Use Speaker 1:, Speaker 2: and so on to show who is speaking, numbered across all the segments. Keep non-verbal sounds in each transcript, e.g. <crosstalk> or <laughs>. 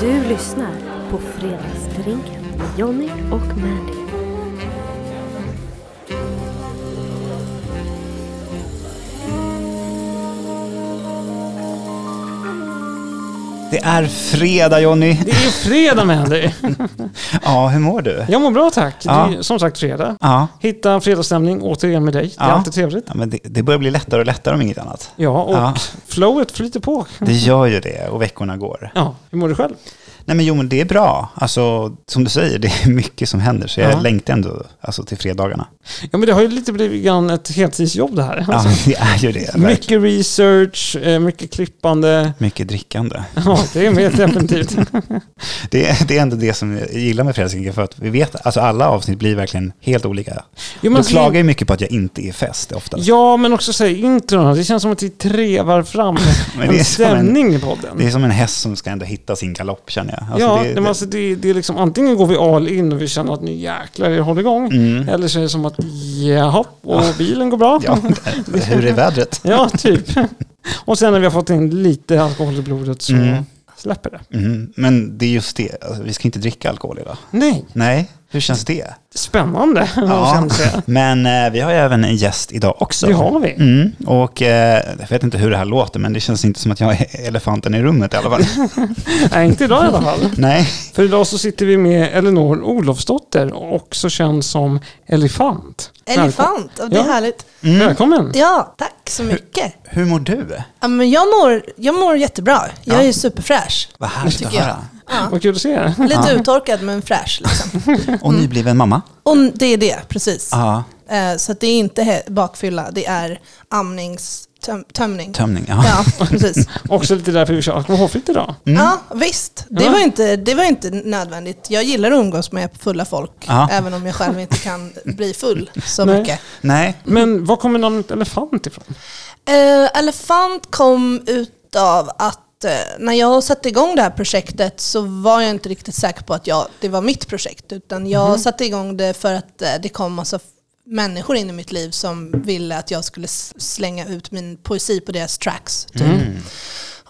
Speaker 1: Du lyssnar på Fredagsdrinken med Jonny och Mandy.
Speaker 2: Det är fredag Jonny.
Speaker 3: Det är ju fredag Mandy.
Speaker 2: Ja, hur mår du?
Speaker 3: Jag mår bra tack.
Speaker 2: Ja.
Speaker 3: Det är som sagt fredag.
Speaker 2: Ja,
Speaker 3: Hitta en fredagsstämning återigen med dig. Det är
Speaker 2: Ja.
Speaker 3: alltid trevligt.
Speaker 2: ja men det, det börjar bli lättare och lättare om inget <laughs> annat.
Speaker 3: Ja, och
Speaker 2: Ja.
Speaker 3: flowet flyter på.
Speaker 2: Det gör ju det och veckorna går.
Speaker 3: Ja, hur mår du själv?
Speaker 2: Nej men jo, men det är bra. Alltså, som du säger, det är mycket som händer. Så jag
Speaker 3: Ja.
Speaker 2: längtar ändå alltså, till fredagarna.
Speaker 3: Ja, men det har ju lite blivit grann ett heltidsjobb det här.
Speaker 2: Ja,
Speaker 3: Alltså,
Speaker 2: det är ju det. Verkligen.
Speaker 3: mycket research, eh, mycket klippande.
Speaker 2: Mycket drickande.
Speaker 3: Ja, det är mer <laughs> definitivt.
Speaker 2: Det, är- det är ändå det som jag gillar med Fredagsdrinken, för att vi vet, alltså alla avsnitt blir verkligen helt olika.
Speaker 3: Jo,
Speaker 2: Du
Speaker 3: alltså,
Speaker 2: klagar ju mycket på att jag inte är fest oftast.
Speaker 3: Ja, men också så här, introna. Det känns som att vi trevar fram
Speaker 2: <laughs> Men
Speaker 3: en
Speaker 2: det är som en-
Speaker 3: stämning i podden.
Speaker 2: Det är som en häst som ska ändå hitta sin galopp känner jag. Alltså,
Speaker 3: ja,
Speaker 2: det-
Speaker 3: det, men alltså det, det är liksom antingen går vi all in och vi känner att nu jäklar jag håller igång. Eller så är det som att jaha, och bilen går bra.
Speaker 2: Mm. ja, <laughs> hur är vädret?
Speaker 3: Ja, typ. <laughs> Och sen när vi har fått in lite alkohol i blodet så
Speaker 2: Mm.
Speaker 3: släpper det.
Speaker 2: Mm, men det är just det, alltså, vi ska inte dricka alkohol idag.
Speaker 3: Nej,
Speaker 2: Nej, hur känns det?
Speaker 3: spännande. Ja.
Speaker 2: <laughs> Men eh, vi har ju även en gäst idag också.
Speaker 3: Det har vi.
Speaker 2: Mm, och eh, jag vet inte hur det här låter, men det känns inte som att jag är elefanten i rummet i alla
Speaker 3: <laughs>
Speaker 2: fall.
Speaker 3: Nej, inte idag i alla fall.
Speaker 2: Nej,
Speaker 3: För idag så sitter vi med Elinor Olofsdotter, också känd som Elefant.
Speaker 4: Elefant, ja, det är
Speaker 3: Ja.
Speaker 4: härligt.
Speaker 2: Mm.
Speaker 3: Välkom- Välkommen!
Speaker 4: Ja, tack så mycket.
Speaker 2: hur mår du?
Speaker 4: Ja, men jag, mår, jag mår jättebra. Jag är superfräsch.
Speaker 2: Vad härligt att
Speaker 4: Tycker jag.
Speaker 2: höra.
Speaker 3: Vad kul att se er.
Speaker 4: Lite uttorkad men fräsch. Liksom.
Speaker 2: Och nybliven
Speaker 4: <laughs>
Speaker 2: mamma?
Speaker 4: Och det är det, precis.
Speaker 2: Ja,
Speaker 4: Eh, Så att det är inte he- bakfylla, det är amningstömning.
Speaker 2: tömning. Ja. Mm.
Speaker 4: Ja,
Speaker 2: <laughs>
Speaker 4: precis.
Speaker 3: Också lite därför vi kör alkoholfritt idag.
Speaker 4: Ja, visst. Det,
Speaker 3: Ja.
Speaker 4: Var inte, det var inte nödvändigt. Jag gillar att umgås med fulla folk,
Speaker 2: Ja.
Speaker 4: även om jag själv inte kan bli full så
Speaker 3: Nej.
Speaker 4: mycket.
Speaker 2: Nej,
Speaker 3: Men var kommer namnet elefant ifrån?
Speaker 4: Eh, Elefant kom utav att eh, när jag satte igång det här projektet så var jag inte riktigt säker på att jag, det var mitt projekt. Utan jag satte igång det för att eh, det kom massa f- människor in i mitt liv som ville att jag skulle s- slänga ut min poesi på deras tracks. Typ.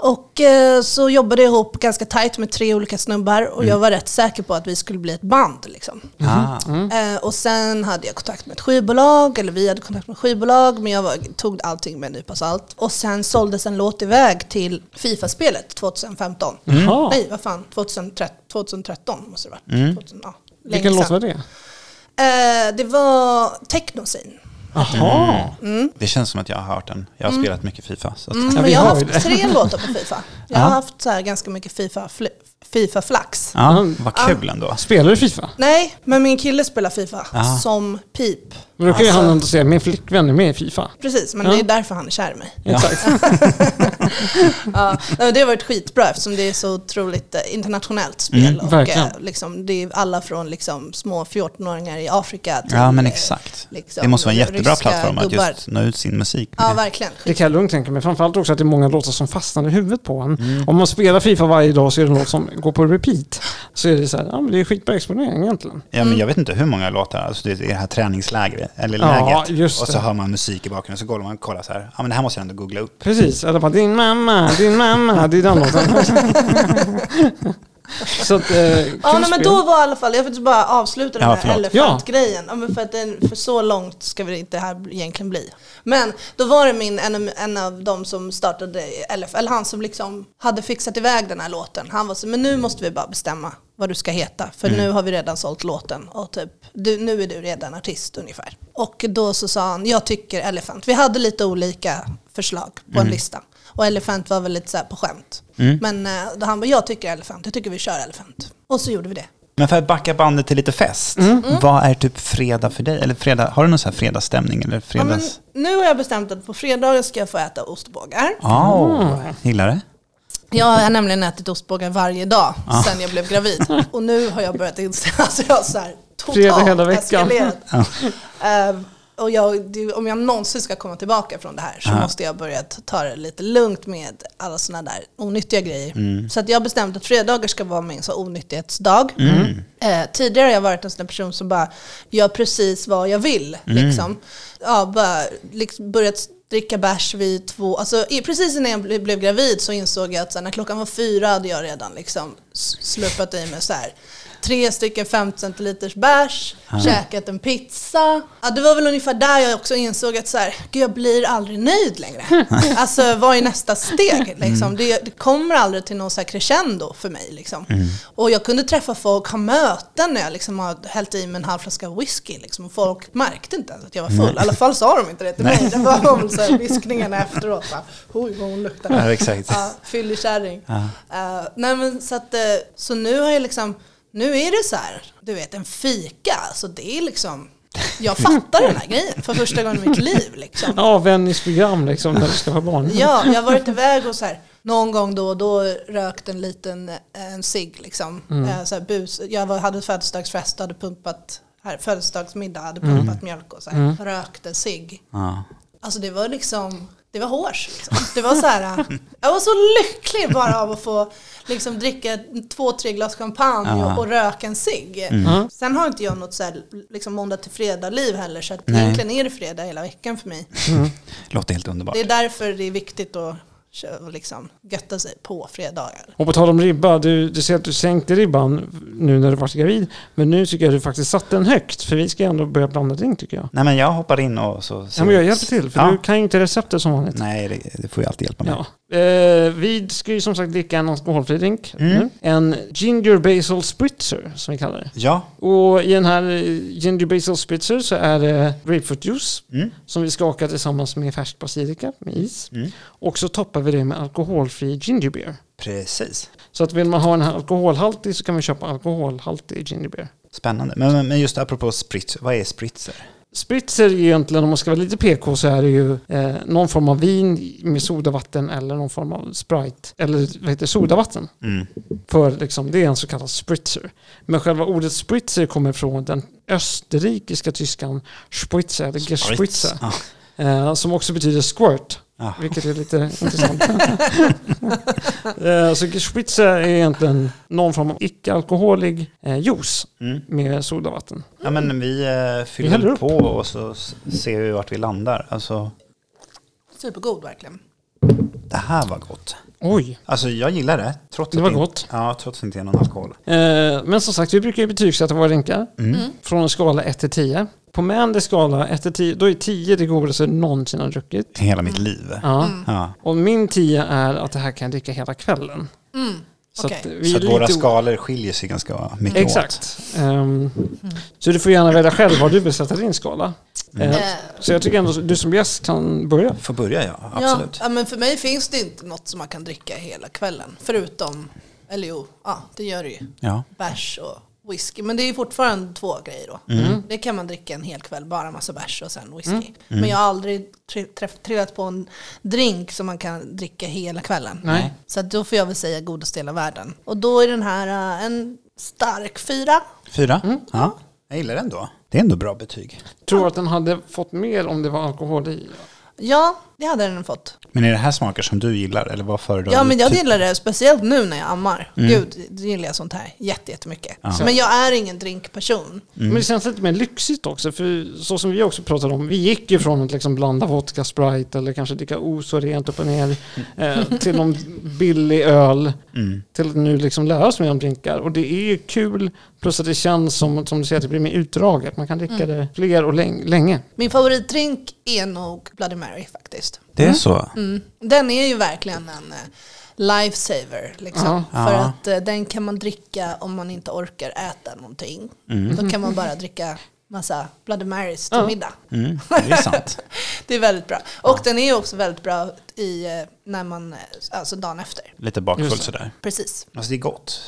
Speaker 4: Och eh, så jobbade jag ihop ganska tajt med tre olika snubbar och jag var rätt säker på att vi skulle bli ett band. Liksom.
Speaker 2: ah,
Speaker 3: Mm.
Speaker 4: Eh, och sen hade jag kontakt med ett skivbolag, eller vi hade kontakt med ett skivbolag, men jag var, tog allting med en nypa salt. Och sen såldes en låt iväg till Fifa-spelet 2015.
Speaker 2: Mm.
Speaker 3: Jaha.
Speaker 4: Nej, vad fan, 2013, 2013 måste det ha varit. 2000, ja, länge
Speaker 3: Mm. Vilken låt
Speaker 4: sedan.
Speaker 3: var det?
Speaker 4: Eh, det var Technosin.
Speaker 3: Jaha.
Speaker 2: det känns som att jag har hört den. Jag har spelat mycket Fifa. Så att,
Speaker 4: Mm,
Speaker 3: Ja,
Speaker 4: men
Speaker 3: vi
Speaker 4: jag har
Speaker 3: har ju
Speaker 4: haft tre låtar på Fifa. Jag
Speaker 2: Ja.
Speaker 4: har haft så här ganska mycket FIFA-flax. FIFA flax.
Speaker 2: ja,
Speaker 3: Mm.
Speaker 2: vad kul ändå.
Speaker 3: Spelar du Fifa?
Speaker 4: Nej, men min kille spelar Fifa
Speaker 2: Ja.
Speaker 4: som pip.
Speaker 3: Men då kan ju han ändå säga, min flickvän är med i Fifa.
Speaker 4: Precis, men
Speaker 3: Ja.
Speaker 4: det är därför han är kär i mig.
Speaker 2: Ja.
Speaker 3: Exakt.
Speaker 4: Ja, nej, men det har varit skitbra eftersom det är så otroligt eh, internationellt spel.
Speaker 2: Mm,
Speaker 4: och,
Speaker 3: verkligen.
Speaker 4: eh, liksom, det är alla från liksom, små 14-åringar i Afrika till...
Speaker 2: Ja, men
Speaker 4: eh,
Speaker 2: exakt.
Speaker 4: liksom,
Speaker 2: det måste vara en jättebra
Speaker 4: ryska
Speaker 2: plattform att
Speaker 4: gubbar.
Speaker 2: just nå ut sin musik.
Speaker 4: Ja,
Speaker 2: med.
Speaker 4: verkligen.
Speaker 3: Det kan jag lugnt tänka mig. Framförallt också att det är många låtar som fastnar i huvudet på en. Om man spelar Fifa varje dag så är det en låt som går på repeat. Så är det så här, ja men det är skitbra exponering egentligen.
Speaker 2: Ja, men jag vet inte hur många låtar, alltså det är det här träningslägret, eller
Speaker 3: Ja,
Speaker 2: läget.
Speaker 3: just
Speaker 2: och så
Speaker 3: det.
Speaker 2: hör man musik i bakgrunden, så går man och kollar så här, ja men det här måste jag ändå googla upp.
Speaker 3: Precis, eller bara din mamma, din mamma, det är den låten. så att, eh, kul
Speaker 4: Ja, nej, men
Speaker 3: spel.
Speaker 4: då var i alla fall, jag vill bara avsluta
Speaker 2: Ja,
Speaker 4: den här
Speaker 2: förlåt.
Speaker 4: elefantgrejen. Ja. men för, att den, för så långt ska vi inte här egentligen bli. Men då var det min, en, en av de som startade LF, eller han som liksom hade fixat iväg den här låten. Han var så, men nu måste vi bara bestämma vad du ska heta. För
Speaker 2: Mm.
Speaker 4: nu har vi redan sålt låten och typ, du, nu är du redan artist ungefär. Och då så sa han, jag tycker elefant. Vi hade lite olika förslag på
Speaker 2: Mm.
Speaker 4: en lista. Och elefant var väl lite så här på skämt. Men eh, då han bara, jag tycker elefant, jag tycker vi kör elefant. Och så gjorde vi det.
Speaker 2: Men för att backa bandet till lite fest,
Speaker 3: Mm.
Speaker 4: Mm.
Speaker 2: vad är typ fredag för dig? Eller fredag, har du någon sån här fredagsstämning eller
Speaker 4: Ja, men
Speaker 2: fredags...
Speaker 4: nu har jag bestämt att på fredagar ska jag få äta ostbågar.
Speaker 2: Ja, gillar det?
Speaker 4: Jag har nämligen ätit ostbågar varje dag sedan jag blev gravid. Och nu har jag börjat inse <laughs> att alltså jag har så här
Speaker 3: Fredag hela
Speaker 4: totalt
Speaker 3: veckan.
Speaker 4: eskalerat. Ehm, och jag, det- om jag någonsin ska komma tillbaka från det här så måste jag börja t- ta det lite lugnt med alla sådana där onyttiga grejer. Så att jag har bestämt att fredagar ska vara min så onyttighetsdag. Eh, tidigare har jag varit en sån där person som bara gör precis vad jag vill. Liksom. Ja, bara, liksom, börjat dricka bärs vid två. Alltså, i- precis innan jag ble- blev gravid så insåg jag att så här, när klockan var fyra hade jag redan liksom, s- slurpat i mig så här. Tre stycken 50 centiliters bärs, käkat en pizza. Ja, det var väl ungefär där jag också insåg att så här, Gud, jag blir aldrig nöjd längre. alltså vad är nästa steg? Liksom? Det, det kommer aldrig till någon så här crescendo för mig. Liksom. Och jag kunde träffa folk, ha möten när jag liksom har hällt i mig en halv flaska whisky. Liksom. Och folk märkte inte ens att jag var full. I alla fall sa de inte det till mig. Det var väl så här viskningarna efteråt. va, Oj, vad hon luktar.
Speaker 2: Ja, exakt.
Speaker 4: Ja, fyllig kärring. Eh, nej men så att, eh, så nu har jag liksom, nu är det så här, du vet en fika, så det är liksom, jag fattar den här grejen för första gången i mitt liv liksom.
Speaker 3: Avvänjningsprogram liksom när du ska få barn.
Speaker 4: Ja, jag har varit iväg och så här, någon gång då och då rökt en liten eh, en cigg. Liksom. Eh, Så här, bus. Jag var, hade födelsedagsfest och hade pumpat, här, födelsedagsmiddag, hade pumpat mjölk och så här, rökt en cigg.
Speaker 2: Ja.
Speaker 4: Alltså det var liksom, det var hårs. Liksom. Det var så här, <laughs> eh, jag var så lycklig bara av att få liksom, dricka två, tre glas champagne och, och röka en cigg.
Speaker 2: Mm.
Speaker 4: Sen har inte jag något så här, liksom, måndag till fredag-liv heller, så att
Speaker 2: Nej.
Speaker 4: egentligen är det fredag hela veckan för mig.
Speaker 2: Låter helt underbart.
Speaker 4: Det är därför det är viktigt att kö- och liksom götta sig på fredagar.
Speaker 3: Och på tal om ribba, du, du säger att du sänkte ribban nu när du var gravid. Men nu tycker jag du faktiskt satte den högt. För vi ska ändå börja blanda drink tycker jag.
Speaker 2: Nej men jag hoppar in och så... så
Speaker 3: Ja, men jag hjälper till, för
Speaker 2: Ja.
Speaker 3: du kan ju inte receptet som vanligt.
Speaker 2: Nej, det, det får ju alltid hjälpa mig.
Speaker 3: Ja. Eh, vi ska ju som sagt dricka en alkoholfri drink.
Speaker 2: Mm.
Speaker 3: nu. En Ginger Basil Spritzer som vi kallar det.
Speaker 2: Ja.
Speaker 3: Och i den här eh, Ginger Basil Spritzer så är det grapefruitjuice
Speaker 2: Mm.
Speaker 3: som vi skakar tillsammans med färsk basilika med is.
Speaker 2: Mm.
Speaker 3: Och så toppar vi det med alkoholfri ginger beer.
Speaker 2: Precis.
Speaker 3: Så att vill man ha en här alkoholhaltig så kan man köpa alkoholhaltig ginger beer.
Speaker 2: Spännande. Men, men- men just apropå spritz, vad är spritzer?
Speaker 3: Spritzer är ju egentligen, om man ska vara lite PK, så är det ju eh, någon form av vin med sodavatten eller någon form av Sprite, eller vad heter det, sodavatten.
Speaker 2: Mm.
Speaker 3: För liksom, det är en så kallad spritzer. Men själva ordet spritzer kommer från den österrikiska tyskan spritzer, eller gespritzer,
Speaker 2: Ja.
Speaker 3: eh, som också betyder squirt.
Speaker 2: Ja.
Speaker 3: Vilket är lite intressant. <laughs> Eh, så gespritzer är egentligen någon form av icke-alkoholig eh, juice
Speaker 2: Mm.
Speaker 3: med sodavatten.
Speaker 2: ja, men vi eh, fyller
Speaker 3: häller upp.
Speaker 2: på och så s- ser vi vart vi landar. Alltså,
Speaker 4: Supergod verkligen.
Speaker 2: det här var gott.
Speaker 3: Oj!
Speaker 2: Alltså jag gillar det. Trots
Speaker 3: Det
Speaker 2: att
Speaker 3: var
Speaker 2: inte-
Speaker 3: gott.
Speaker 2: Ja, trots att det inte är någon alkohol.
Speaker 3: Eh, Men som sagt, vi brukar ju betygsätta våra drinkar
Speaker 2: Mm.
Speaker 3: från en skala 1 till 10. På Mandys skala 1 till 10, då är 10 det godaste jag någonsin har druckit.
Speaker 2: Hela mitt liv.
Speaker 3: Ja.
Speaker 2: Ja.
Speaker 3: Och min 10 är att det här kan jag dricka hela kvällen. Så
Speaker 4: Okej.
Speaker 3: att vi
Speaker 2: Så
Speaker 3: är
Speaker 2: att våra
Speaker 3: lite o-
Speaker 2: skalor skiljer sig ganska mycket åt.
Speaker 3: Exakt. Ehm, Så du får gärna välja själv var du vill sätta din skala.
Speaker 2: Mm.
Speaker 3: Eh,
Speaker 4: Eh,
Speaker 3: Så jag tycker ändå att du som gäst kan börja.
Speaker 2: Får börja ja,
Speaker 4: ja,
Speaker 2: absolut.
Speaker 4: ja, men för mig finns det inte något som man kan dricka hela kvällen. Förutom, eller jo, ja, det gör det ju.
Speaker 2: Ja.
Speaker 4: Bärs och whisky. Men det är fortfarande två grejer då. Det kan man dricka en hel kväll, bara massa bärs och sen whisky. Men jag har aldrig tri- träff- trillat på en drink som man kan dricka hela kvällen.
Speaker 3: Nej.
Speaker 4: Så att då får jag väl säga godaste hela världen. Och då är den här eh, en stark fyra.
Speaker 2: Fyra.
Speaker 3: Mm.
Speaker 2: Ja. Jag gillar den då. Det är ändå bra betyg.
Speaker 3: Tror att den hade fått mer om det var alkohol i.
Speaker 4: Ja, det hade den fått.
Speaker 2: Men är det här smaker som du gillar eller vad föredrar
Speaker 4: Ja,
Speaker 2: du?
Speaker 4: men jag
Speaker 2: Typ-
Speaker 4: gillar det, speciellt nu när jag ammar. Gud, det gillar jag sånt här jätte- jättemycket. Men jag är ingen drinkperson.
Speaker 3: Men det känns lite mer lyxigt också, för så som vi också pratade om, vi gick ju från att liksom blanda vodka, sprite eller kanske dricka os och rent upp och ner eh, till någon billig öl till att nu liksom lära oss mer om drinkar. Och det är ju kul, plus att det känns som, som du säger, att det blir mer utdraget. Man kan dricka det fler och läng- länge.
Speaker 4: Min favoritdrink är nog Bloody Mary faktiskt.
Speaker 2: Det är så?
Speaker 4: Mm. Den är ju verkligen en eh, lifesaver. Liksom. För
Speaker 2: Ja.
Speaker 4: att eh, den kan man dricka om man inte orkar äta någonting.
Speaker 2: Mm.
Speaker 4: Då kan man bara dricka massa Bloody Marys till middag.
Speaker 2: Mm, det är sant.
Speaker 4: Det är väldigt bra. Och den är ju också väldigt bra i, eh, när man, eh, alltså dagen efter.
Speaker 2: Lite bakfull
Speaker 3: Just det.
Speaker 2: sådär.
Speaker 4: Precis.
Speaker 2: Alltså det är gott.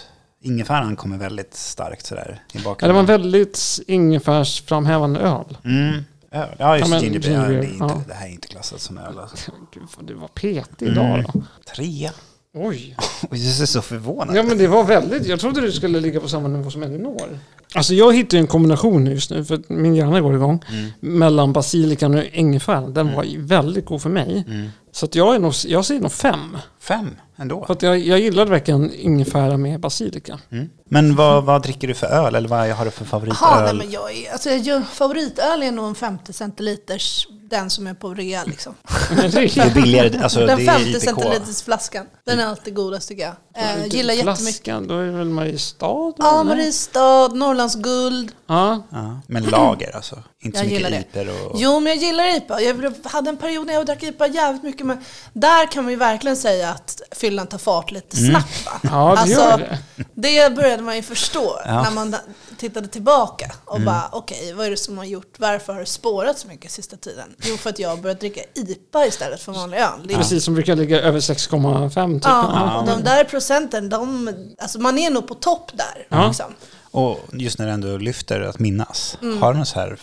Speaker 2: Ingefäran kommer väldigt starkt sådär i
Speaker 3: Ja, det var en
Speaker 2: bakgrunden.
Speaker 3: väldigt ingefärsframhävande öl.
Speaker 2: Mm. Öl. Ja, just
Speaker 3: Ja, men
Speaker 2: ginger beer. Ja,
Speaker 3: ginger
Speaker 2: det, är inte,
Speaker 3: beer, ja.
Speaker 2: det här är inte klassat som öl. Alltså.
Speaker 3: Gud, vad du var petig idag då.
Speaker 2: Trea.
Speaker 3: Oj.
Speaker 2: Och jag är så förvånad.
Speaker 3: Ja men det var väldigt, jag trodde du skulle ligga på samma nivå som Elinor. Alltså jag hittar ju en kombination just nu, för att min hjärna går igång, mellan basilikan och ingefäran. Den var ju väldigt god för mig. Så att jag, är nog, jag säger nog fem.
Speaker 2: Fem ändå.
Speaker 3: För att jag, jag gillade verkligen ingefära med basilika. <laughs>
Speaker 2: Mm. Men vad, vad dricker du för öl? Eller vad har du för
Speaker 4: Jaha, nej
Speaker 2: favoritöl?
Speaker 4: men jag är, alltså jag gör, favoritöl är nog en 50 centiliters den som är på rea liksom.
Speaker 2: Det är billigare, alltså
Speaker 4: <laughs> den
Speaker 2: det är
Speaker 4: 50
Speaker 2: ITK.
Speaker 4: centiliters flaskan. Den är alltid godast tycker jag. Eh, gillar jättemycket.
Speaker 3: Flaskan, då är det väl Mariestad?
Speaker 4: Ja,
Speaker 3: eller?
Speaker 4: Mariestad, Norrlands guld.
Speaker 3: Ja.
Speaker 2: Ja, men lager alltså, inte så
Speaker 4: Jag gillar
Speaker 2: mycket
Speaker 4: det.
Speaker 2: IPer och...
Speaker 4: Jo, men jag gillar IPA. Jag hade en period när jag drack IPA jävligt mycket, men där kan man ju verkligen säga att fyllan tar fart lite
Speaker 2: Mm.
Speaker 4: snabbt. Va?
Speaker 3: <laughs>
Speaker 4: Alltså,
Speaker 3: Ja, det gör det.
Speaker 4: det började man ju förstå
Speaker 2: Ja. Mm.
Speaker 4: när man tittade tillbaka och bara, okej, vad är det som har gjort, varför har det spårat så mycket sista tiden? Jo, för att jag har börjat dricka IPA istället för vanlig öl. Det är
Speaker 3: Precis, som brukar ligga över 6,5 typ.
Speaker 4: Ja, och de där procenten, de, alltså man är nog på topp där.
Speaker 3: Ja.
Speaker 4: Liksom.
Speaker 2: Och just när du ändå lyfter att minnas,
Speaker 4: Mm.
Speaker 2: har du något så här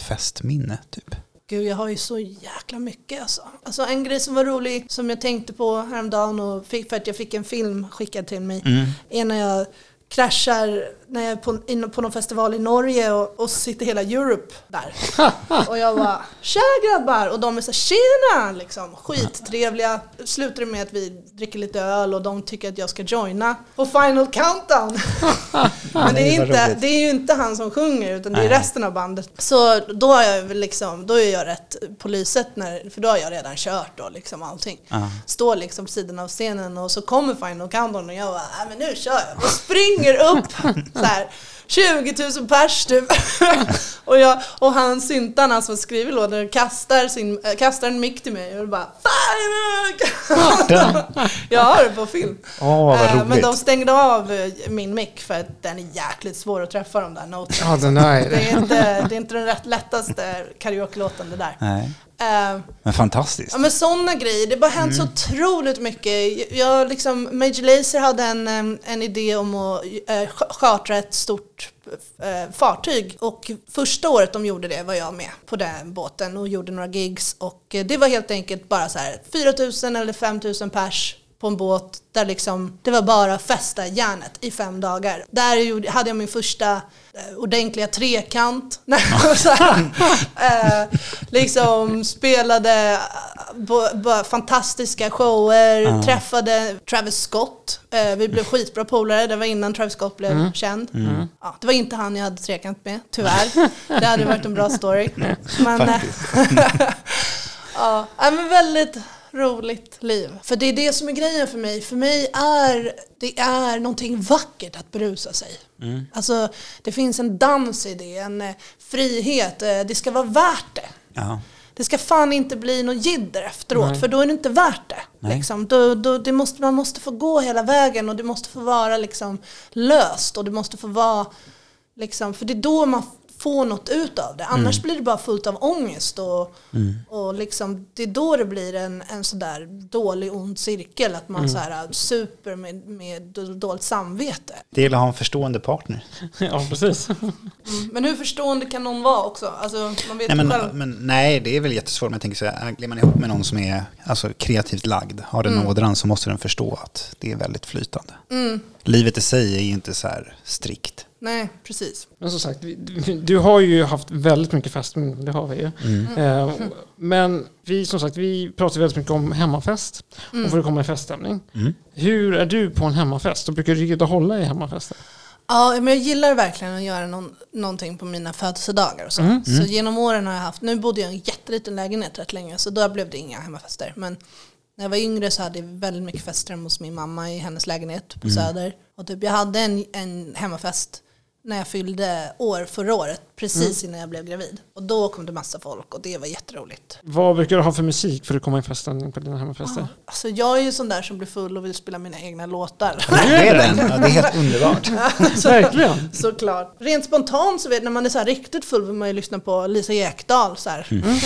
Speaker 2: favoritfestminne typ?
Speaker 4: Gud, jag har ju så jäkla mycket alltså. alltså. En grej som var rolig, som jag tänkte på häromdagen och fick, för att jag fick en film skickad till mig, är när jag kraschar när jag är på, inne på någon festival i Norge och, och sitter hela Europe där. <laughs> och jag bara “Tja grabbar!” och de är så här, “Tjena!” liksom. Skittrevliga. Slutar det med att vi dricker lite öl och de tycker att jag ska joina på Final
Speaker 2: <laughs>
Speaker 4: Countdown. Men det är,
Speaker 2: Nej, vad
Speaker 4: inte,
Speaker 2: roligt.
Speaker 4: det är ju inte han som sjunger utan det är
Speaker 2: Nej.
Speaker 4: resten av bandet. Så då, har jag väl liksom, då är jag rätt på lyset, när, för då har jag redan kört då, liksom allting.
Speaker 2: Ja.
Speaker 4: Står liksom på sidan av scenen och så kommer Final Countdown och jag bara, "Nej, men nu kör jag. Och springer
Speaker 2: <laughs>
Speaker 4: upp så här, 20 000 pers typ. <laughs> och, jag, och han syntan, han som skriver låten, kastar, sin, äh, kastar en mick till mig och bara
Speaker 2: <laughs>
Speaker 4: Final Countdown! jag har det på film.
Speaker 2: Åh, vad
Speaker 4: Eh,
Speaker 2: roligt.
Speaker 4: Men de stängde av eh, min mick för att den är jäkligt svår att träffa de
Speaker 2: <laughs>
Speaker 4: där noterna.
Speaker 3: Ja, den är
Speaker 4: Det
Speaker 3: det.
Speaker 4: är inte, det är inte den rätt lättaste karaoke-låten det där.
Speaker 2: Nej,
Speaker 4: Eh,
Speaker 2: men fantastiskt.
Speaker 4: Ja men sådana grejer, det har bara hänt så otroligt mycket. Jag liksom, Major Lazer hade en, em, en idé om att eh, ch- chartra ett stort eh, fartyg och första året de gjorde det var jag med på den båten och gjorde några gigs och eh, det var helt enkelt bara så här 4000 eller 5000 pers på en båt där liksom, det var bara festa järnet i fem dagar. Där gjorde- hade jag min första eh, ordentliga trekant. <laughs> så här, eh, liksom spelade eh, bo- bara fantastiska shower, träffade Travis Scott. Eh, vi blev skitbra polare, det var innan Travis Scott blev känd. Ja, det var inte han jag hade trekant med, tyvärr. Det hade varit en bra story. Men, eh, Ja, ja, men väldigt roligt liv. För det är det som är grejen för mig. För mig är det är någonting vackert att berusa sig. Alltså, det finns en dans i det, en eh, frihet. Eh, Det ska vara värt det.
Speaker 2: Ja.
Speaker 4: Det ska fan inte bli något jidder efteråt, för då är det inte värt det.
Speaker 2: Nej.
Speaker 4: Liksom. Då, då, det måste, man måste få gå hela vägen och det måste få vara liksom, löst och det måste få vara... Liksom, för det är då man får något ut av det.
Speaker 2: Mm.
Speaker 4: Annars blir det bara fullt av ångest. Och, och liksom, det är då det blir en, en sådär dålig ond cirkel, att
Speaker 2: Mm.
Speaker 4: man såhär, super med, med dåligt samvete.
Speaker 2: Det gäller att ha en förstående partner.
Speaker 3: <laughs> Ja, precis.
Speaker 4: Men hur förstående kan någon vara också? Alltså, man vet
Speaker 2: Nej,
Speaker 4: ju
Speaker 2: men,
Speaker 4: själv.
Speaker 2: men, nej, det är väl jättesvårt. Men jag tänker så här, blir man ihop med någon som är alltså, kreativt lagd, har den ådran, så måste den förstå att det är väldigt flytande. Livet i sig är ju inte så här <laughs> strikt.
Speaker 4: Nej, precis.
Speaker 3: Men som sagt, vi- du- du har ju haft väldigt mycket festminnen, det har vi ju.
Speaker 4: Mm.
Speaker 3: Eh, Men vi, som sagt, vi pratar väldigt mycket om hemmafest
Speaker 4: Mm.
Speaker 3: och för att komma i feststämning. Hur är du på en hemmafest? Och brukar du gilla att hålla i hemmafester?
Speaker 4: Ja, men jag gillar verkligen att göra någon, någonting på mina födelsedagar och så. Så genom åren har jag haft, nu bodde jag i en jätteliten lägenhet rätt länge så då blev det inga hemmafester. Men när jag var yngre så hade jag väldigt mycket fester hemma hos min mamma i hennes lägenhet på Söder. Och typ, jag hade en, en hemmafest när jag fyllde år förra året, precis innan jag blev gravid. Och då kom det massa folk och det var jätteroligt.
Speaker 3: Vad brukar du ha för musik för att komma i feststämning på dina hemmafester?
Speaker 4: Alltså jag är ju sån där som blir full och vill spela mina egna låtar.
Speaker 2: Det är den. Ja, det är helt underbart.
Speaker 3: Verkligen!
Speaker 4: Såklart. Rent spontant så vet när man är så här riktigt full vill man ju lyssna på Lisa Ekdahl. Så
Speaker 3: Mm.
Speaker 4: här.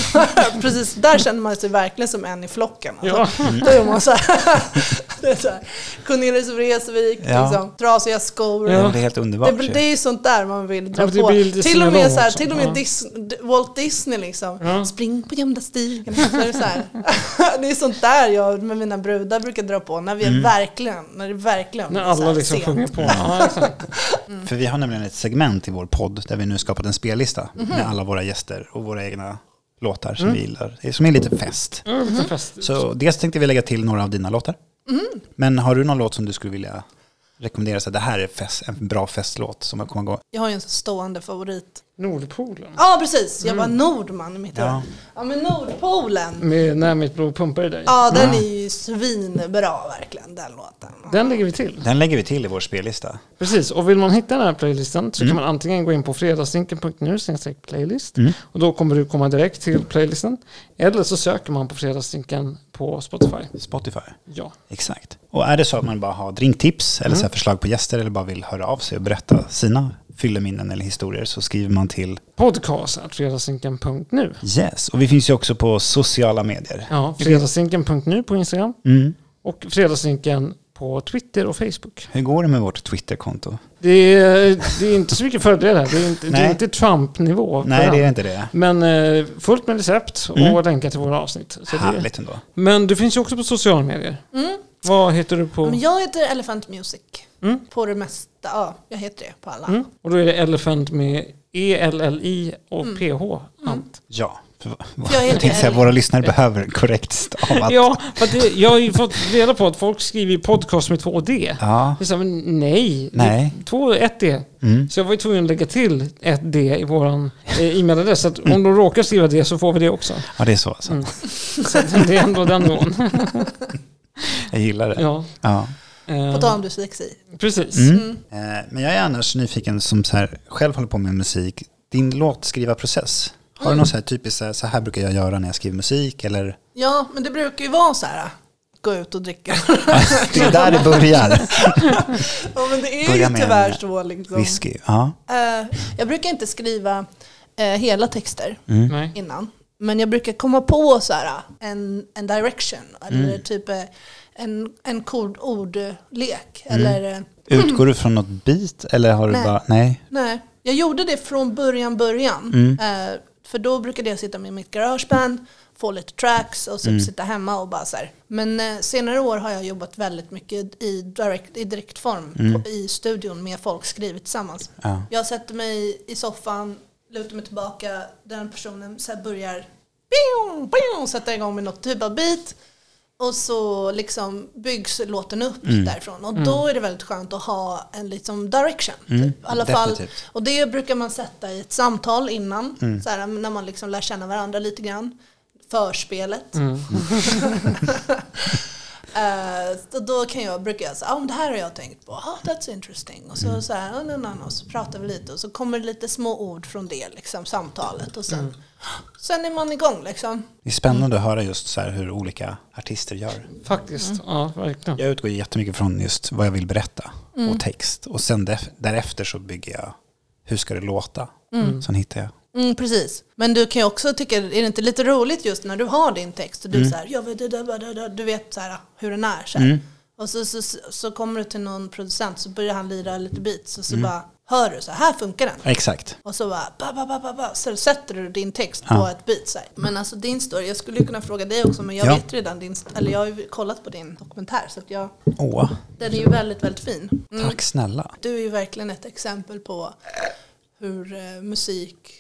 Speaker 4: Mm. <laughs> Precis, där känner man sig verkligen som en i flocken.
Speaker 3: <laughs>
Speaker 4: alltså.
Speaker 3: Ja.
Speaker 4: Då är man så här, <laughs> det är så här. Cornelis Vreeswijk,
Speaker 2: Ja.
Speaker 4: liksom, trasiga skor.
Speaker 2: Det är helt
Speaker 4: Det,
Speaker 2: underbart.
Speaker 4: blir- det är ju sånt där man vill dra
Speaker 3: men det
Speaker 4: på.
Speaker 3: blir lite
Speaker 4: Till och med,
Speaker 3: snurrigt
Speaker 4: så här,
Speaker 3: också.
Speaker 4: till och med
Speaker 3: Ja.
Speaker 4: Dis- Walt Disney liksom.
Speaker 3: Ja.
Speaker 4: Spring på gömda stigen. Så är det, så här. <laughs> det är sånt där jag med mina brudar brukar dra på när vi är verkligen, när det verkligen
Speaker 3: Mm. När
Speaker 4: är så
Speaker 3: alla
Speaker 4: här
Speaker 3: liksom
Speaker 4: sent.
Speaker 3: sjunger på. Ja, exakt.
Speaker 2: För vi har nämligen ett segment i vår podd där vi nu skapat en spellista med alla våra gäster och våra egna låtar som vi gillar, som är lite fest.
Speaker 3: Ja, lite fest.
Speaker 2: Så dels tänkte vi lägga till några av dina låtar. Men har du någon låt som du skulle vilja rekommendera? Så här, det här är fest, en bra festlåt som man kommer gå.
Speaker 4: Jag har ju en sån stående favorit.
Speaker 3: Nordpolen.
Speaker 4: Ja, precis. Jag var Nordman i mitt
Speaker 2: Ja.
Speaker 4: ja. ja, men Nordpolen.
Speaker 3: Med När mitt blod pumpar i dig.
Speaker 4: Ja, den är ju svinbra verkligen, den låten.
Speaker 3: Den lägger vi till.
Speaker 2: Den lägger vi till i vår spellista.
Speaker 3: Precis, och vill man hitta den här playlisten så
Speaker 2: Mm.
Speaker 3: kan man antingen gå in på fredagsdrinken.nu snedstreck playlist och då kommer du komma direkt till playlisten. Eller så söker man på fredagsdrinken på Spotify.
Speaker 2: Spotify.
Speaker 3: Ja.
Speaker 2: Exakt. Och är det så att man bara har drinktips eller så här
Speaker 3: Mm.
Speaker 2: förslag på gäster eller bara vill höra av sig och berätta sina fylleminnen eller historier så skriver man till
Speaker 3: Podcast fredagsdrinken.nu.
Speaker 2: Yes. Och vi finns ju också på sociala medier.
Speaker 3: Ja, fredagsdrinken.nu på Instagram
Speaker 2: Mm.
Speaker 3: och fredagsdrinken på Twitter och Facebook.
Speaker 2: Hur går det med vårt Twitterkonto?
Speaker 3: Det är, det är inte så mycket förberedd här. Det är inte, det är
Speaker 2: Nej.
Speaker 3: inte Trump-nivå. på
Speaker 2: Nej,
Speaker 3: den.
Speaker 2: det är inte det.
Speaker 3: Men eh, fullt med recept och länkar till våra avsnitt. Så det,
Speaker 2: Härligt ändå.
Speaker 3: men du finns ju också på sociala medier. Vad heter du på?
Speaker 4: Men jag heter Elephant Music.
Speaker 3: Mm.
Speaker 4: På det mesta. Ja, jag heter det på alla.
Speaker 3: Mm. Och då är det Elephant med E E-L-L-I och
Speaker 4: Mm.
Speaker 3: PH. Ant.
Speaker 2: Ja. För,
Speaker 4: För jag
Speaker 2: jag,
Speaker 4: är
Speaker 2: tänkte säga,
Speaker 4: ärlig.
Speaker 2: våra lyssnare behöver korrekt stavat.
Speaker 3: Ja, för att det, jag har ju fått reda på att folk skriver podcast med två D.
Speaker 2: Ja.
Speaker 3: Det är så, här, men nej, det är
Speaker 2: Nej.
Speaker 3: två, ett D.
Speaker 2: Mm.
Speaker 3: Så jag var ju tvungen att lägga till ett D i våran eh, e-mailadress. Så att om de råkar skriva det så får vi det också.
Speaker 2: ja, det är så alltså.
Speaker 3: Mm. Så att det är ändå den
Speaker 4: <laughs>
Speaker 3: nivån.
Speaker 2: Jag gillar det.
Speaker 3: Ja.
Speaker 2: Ja.
Speaker 3: eh,
Speaker 4: På tal om dyslexi.
Speaker 3: Precis.
Speaker 2: Mm. Eh, Men jag är annars nyfiken som så här, själv håller på med musik. Din låtskrivarprocess, har du någon så här typisk, så här, så här brukar jag göra när jag skriver musik eller?
Speaker 4: Ja, men det brukar ju vara så här. Gå ut
Speaker 3: <laughs>
Speaker 4: och dricka.
Speaker 2: Det är
Speaker 4: <laughs>
Speaker 2: där det börjar.
Speaker 4: ja, men det är
Speaker 2: Börja
Speaker 4: ju
Speaker 2: med
Speaker 4: tyvärr
Speaker 2: en
Speaker 4: så liksom.
Speaker 2: Whisky, ja.
Speaker 4: Eh, jag brukar inte skriva eh, hela texter
Speaker 2: Mm.
Speaker 3: Nej.
Speaker 4: innan. Men jag brukar komma på så här, en, en direction. Eller typ eh, en, en kod ordlek. Eller, eh,
Speaker 2: Utgår du från något beat eller har du
Speaker 4: Nej.
Speaker 2: bara, nej?
Speaker 4: nej. Jag gjorde det från början, början. Eh, för då brukade jag sitta med mitt garageband, få lite tracks och typ sitta hemma och bara så här. Men eh, senare år har jag jobbat väldigt mycket i, direkt, i direktform på, i studion med folk, skrivit tillsammans.
Speaker 2: Ja.
Speaker 4: Jag sätter mig i soffan, lutar mig tillbaka, den personen så här börjar biong, biong, sätta igång med något typ av beat. Och så liksom byggs låten upp därifrån. Och då är det väldigt skönt att ha en liksom direction. Typ. I alla fall,
Speaker 2: definitivt.
Speaker 4: och det brukar man sätta i ett samtal innan, så här, när man liksom lär känna varandra lite grann. Förspelet. <laughs> Eh, så då kan jag, brukar jag säga, ah, men det här har jag tänkt på, ah, that's interesting. Och så, så, här, "Ah, na, na, na." Och så pratar vi lite och så kommer det lite små ord från det liksom, samtalet. Och sen, sen är man igång liksom.
Speaker 2: Det är spännande att höra just så här hur olika artister gör.
Speaker 3: Faktiskt.
Speaker 4: Mm.
Speaker 3: Ja, verkligen.
Speaker 2: Jag utgår jättemycket från just vad jag vill berätta
Speaker 4: Mm.
Speaker 2: och text. Och sen def- därefter så bygger jag, hur ska det låta? Sen hittar jag.
Speaker 4: Mm, precis. Men du kan ju också tycka, är det inte lite roligt just när du har din text och du
Speaker 2: Mm.
Speaker 4: så här, jag vet, det där, det där, det där", du vet så här, hur den är. Så, här. Och så, så, så, så kommer du till någon producent så börjar han lira lite beats och så
Speaker 2: Mm.
Speaker 4: bara hör du så här, här funkar den.
Speaker 2: Exakt.
Speaker 4: Och så bara, ba, ba, ba, ba, ba, så sätter du din text
Speaker 2: Ja.
Speaker 4: på ett beat. Så här. Men alltså din story, jag skulle ju kunna fråga dig också men jag
Speaker 2: Ja.
Speaker 4: vet redan din, eller jag har ju kollat på din dokumentär så att jag,
Speaker 2: Åh,
Speaker 4: den är ju väldigt, väldigt fin. Mm.
Speaker 2: tack snälla.
Speaker 4: Du är ju verkligen ett exempel på hur eh, musik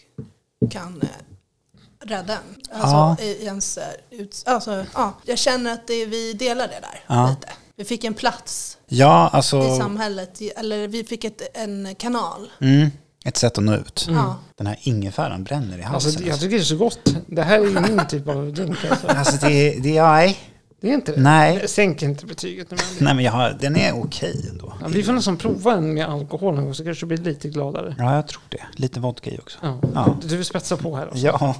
Speaker 4: kan eh, rädda en. Alltså, i ens, eh, ut, alltså, ja. Jag känner att det, vi delar det där
Speaker 2: Ja.
Speaker 4: lite. Vi fick en plats
Speaker 2: Ja, alltså...
Speaker 4: i samhället, i- eller vi fick ett, en kanal.
Speaker 2: Mm, ett sätt att nå ut.
Speaker 4: Ja.
Speaker 2: Den här ingefäran bränner i halsen.
Speaker 3: Alltså,
Speaker 2: Alltså,
Speaker 3: det- jag tycker det är så gott. Det här är ju min typ av drink. Alltså.
Speaker 2: alltså det, det är... Nej.
Speaker 3: Det är inte det.
Speaker 2: Nej.
Speaker 3: Sänk inte betyget nu. men-
Speaker 2: Nej, men jag har, den är okej ändå.
Speaker 3: Ja, vi får nästan prova en med alkohol någon gång så kanske du blir lite gladare.
Speaker 2: Ja, jag tror det. Lite vodka i också.
Speaker 3: Ja.
Speaker 2: Ja.
Speaker 3: Du vill spetsa på här också.
Speaker 2: Ja.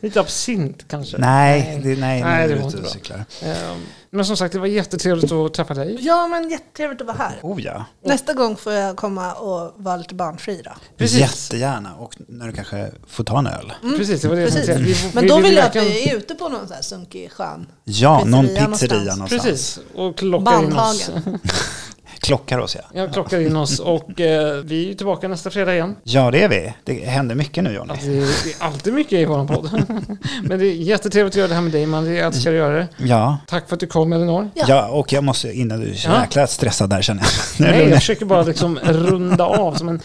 Speaker 3: Lite absint kanske.
Speaker 2: Nej, det, nej, nu
Speaker 3: Nej, det
Speaker 2: är
Speaker 3: var
Speaker 2: du ute
Speaker 3: inte
Speaker 2: och
Speaker 3: bra.
Speaker 2: cyklar.
Speaker 3: Ehm, Men som sagt, det var jättetrevligt att träffa dig.
Speaker 4: Ja men jättetrevligt att vara här.
Speaker 2: Oh ja,
Speaker 4: Nästa gång får jag komma och vara lite barnfri då.
Speaker 3: Precis. Mm.
Speaker 2: jättegärna. Och när du kanske får ta en öl.
Speaker 3: Precis, det var det jag
Speaker 4: Precis.
Speaker 3: tänkte säga. Vi-
Speaker 4: Men då vill jag att
Speaker 3: verkligen-
Speaker 4: vi är ute på någon sån här sunkig skön.
Speaker 2: Ja, någon pizzeria
Speaker 4: Pizzeria
Speaker 2: någonstans.
Speaker 4: någonstans.
Speaker 3: Precis, och klockar in oss. <laughs>
Speaker 4: Bandhagen.
Speaker 2: Klockar oss ja.
Speaker 3: Jag klockar in oss och eh, vi är ju tillbaka nästa fredag igen.
Speaker 2: Ja, det är vi. Det händer mycket nu, Johnny.
Speaker 3: Alltså, det är det är alltid mycket i våran podd. <laughs> Men det är jättetrevligt att göra det här med dig, man. Jag älskar att göra det.
Speaker 2: Ja.
Speaker 3: Tack för att du kom, Elinor.
Speaker 4: Ja.
Speaker 2: ja, och jag måste, innan du är så
Speaker 3: Ja.
Speaker 2: jäkla stressad där känner jag. Nu är det
Speaker 3: Nej, jag
Speaker 2: lugnt.
Speaker 3: försöker bara liksom runda av som en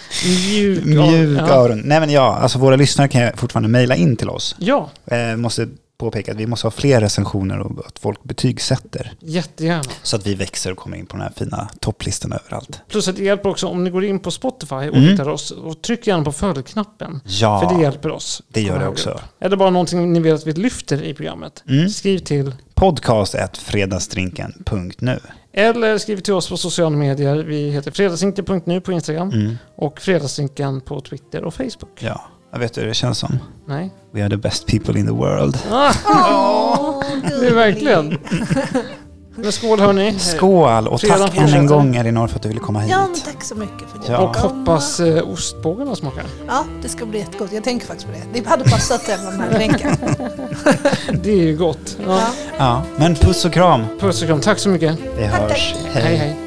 Speaker 2: <laughs>
Speaker 3: mjuk...
Speaker 2: Mjuka
Speaker 3: ja.
Speaker 2: öron. Nej men ja, alltså våra lyssnare kan ju fortfarande mejla in till oss.
Speaker 3: ja,
Speaker 2: Eh, måste påpeka att vi måste ha fler recensioner och att folk betygsätter.
Speaker 3: Jättegärna.
Speaker 2: Så att vi växer och kommer in på den här fina topplistan överallt.
Speaker 3: Plus att det hjälper också om ni går in på Spotify och
Speaker 2: Mm.
Speaker 3: hittar oss och tryck gärna på följknappen.
Speaker 2: Ja,
Speaker 3: För det hjälper oss.
Speaker 2: det gör
Speaker 3: komma
Speaker 2: det
Speaker 3: högre
Speaker 2: också.
Speaker 3: upp. Är det bara någonting ni vill att vi lyfter i programmet?
Speaker 2: Mm.
Speaker 3: Skriv till.
Speaker 2: Podcast.fredagsdrinken.nu
Speaker 3: Eller skriv till oss på sociala medier. Vi heter fredagsdrinken.nu på Instagram
Speaker 2: mm.
Speaker 3: och fredagsdrinken på Twitter och Facebook.
Speaker 2: Ja, jag vet hur det känns som.
Speaker 3: Nej?
Speaker 2: We are the best people in the world.
Speaker 3: Ah,
Speaker 4: Åh,
Speaker 3: det är
Speaker 4: <laughs>
Speaker 3: verkligen. Men skål hörni.
Speaker 2: Skål och
Speaker 3: Fredagen
Speaker 2: tack än en
Speaker 3: fortsätter.
Speaker 2: gång Elinor för att du ville komma
Speaker 4: Ja, men
Speaker 2: hit.
Speaker 4: tack så mycket för det.
Speaker 2: Ja.
Speaker 3: Och hoppas eh, ostbågarna smakar.
Speaker 4: Ja, det ska bli jättegott. Jag tänker faktiskt på det. Det hade passat till den här drinken.
Speaker 3: Det är ju gott. Ja.
Speaker 4: Ja.
Speaker 2: Ja, men puss och kram.
Speaker 3: Puss och kram. Tack så mycket.
Speaker 2: Vi
Speaker 4: Tack,
Speaker 2: hörs.
Speaker 4: tack.
Speaker 3: hej. hej.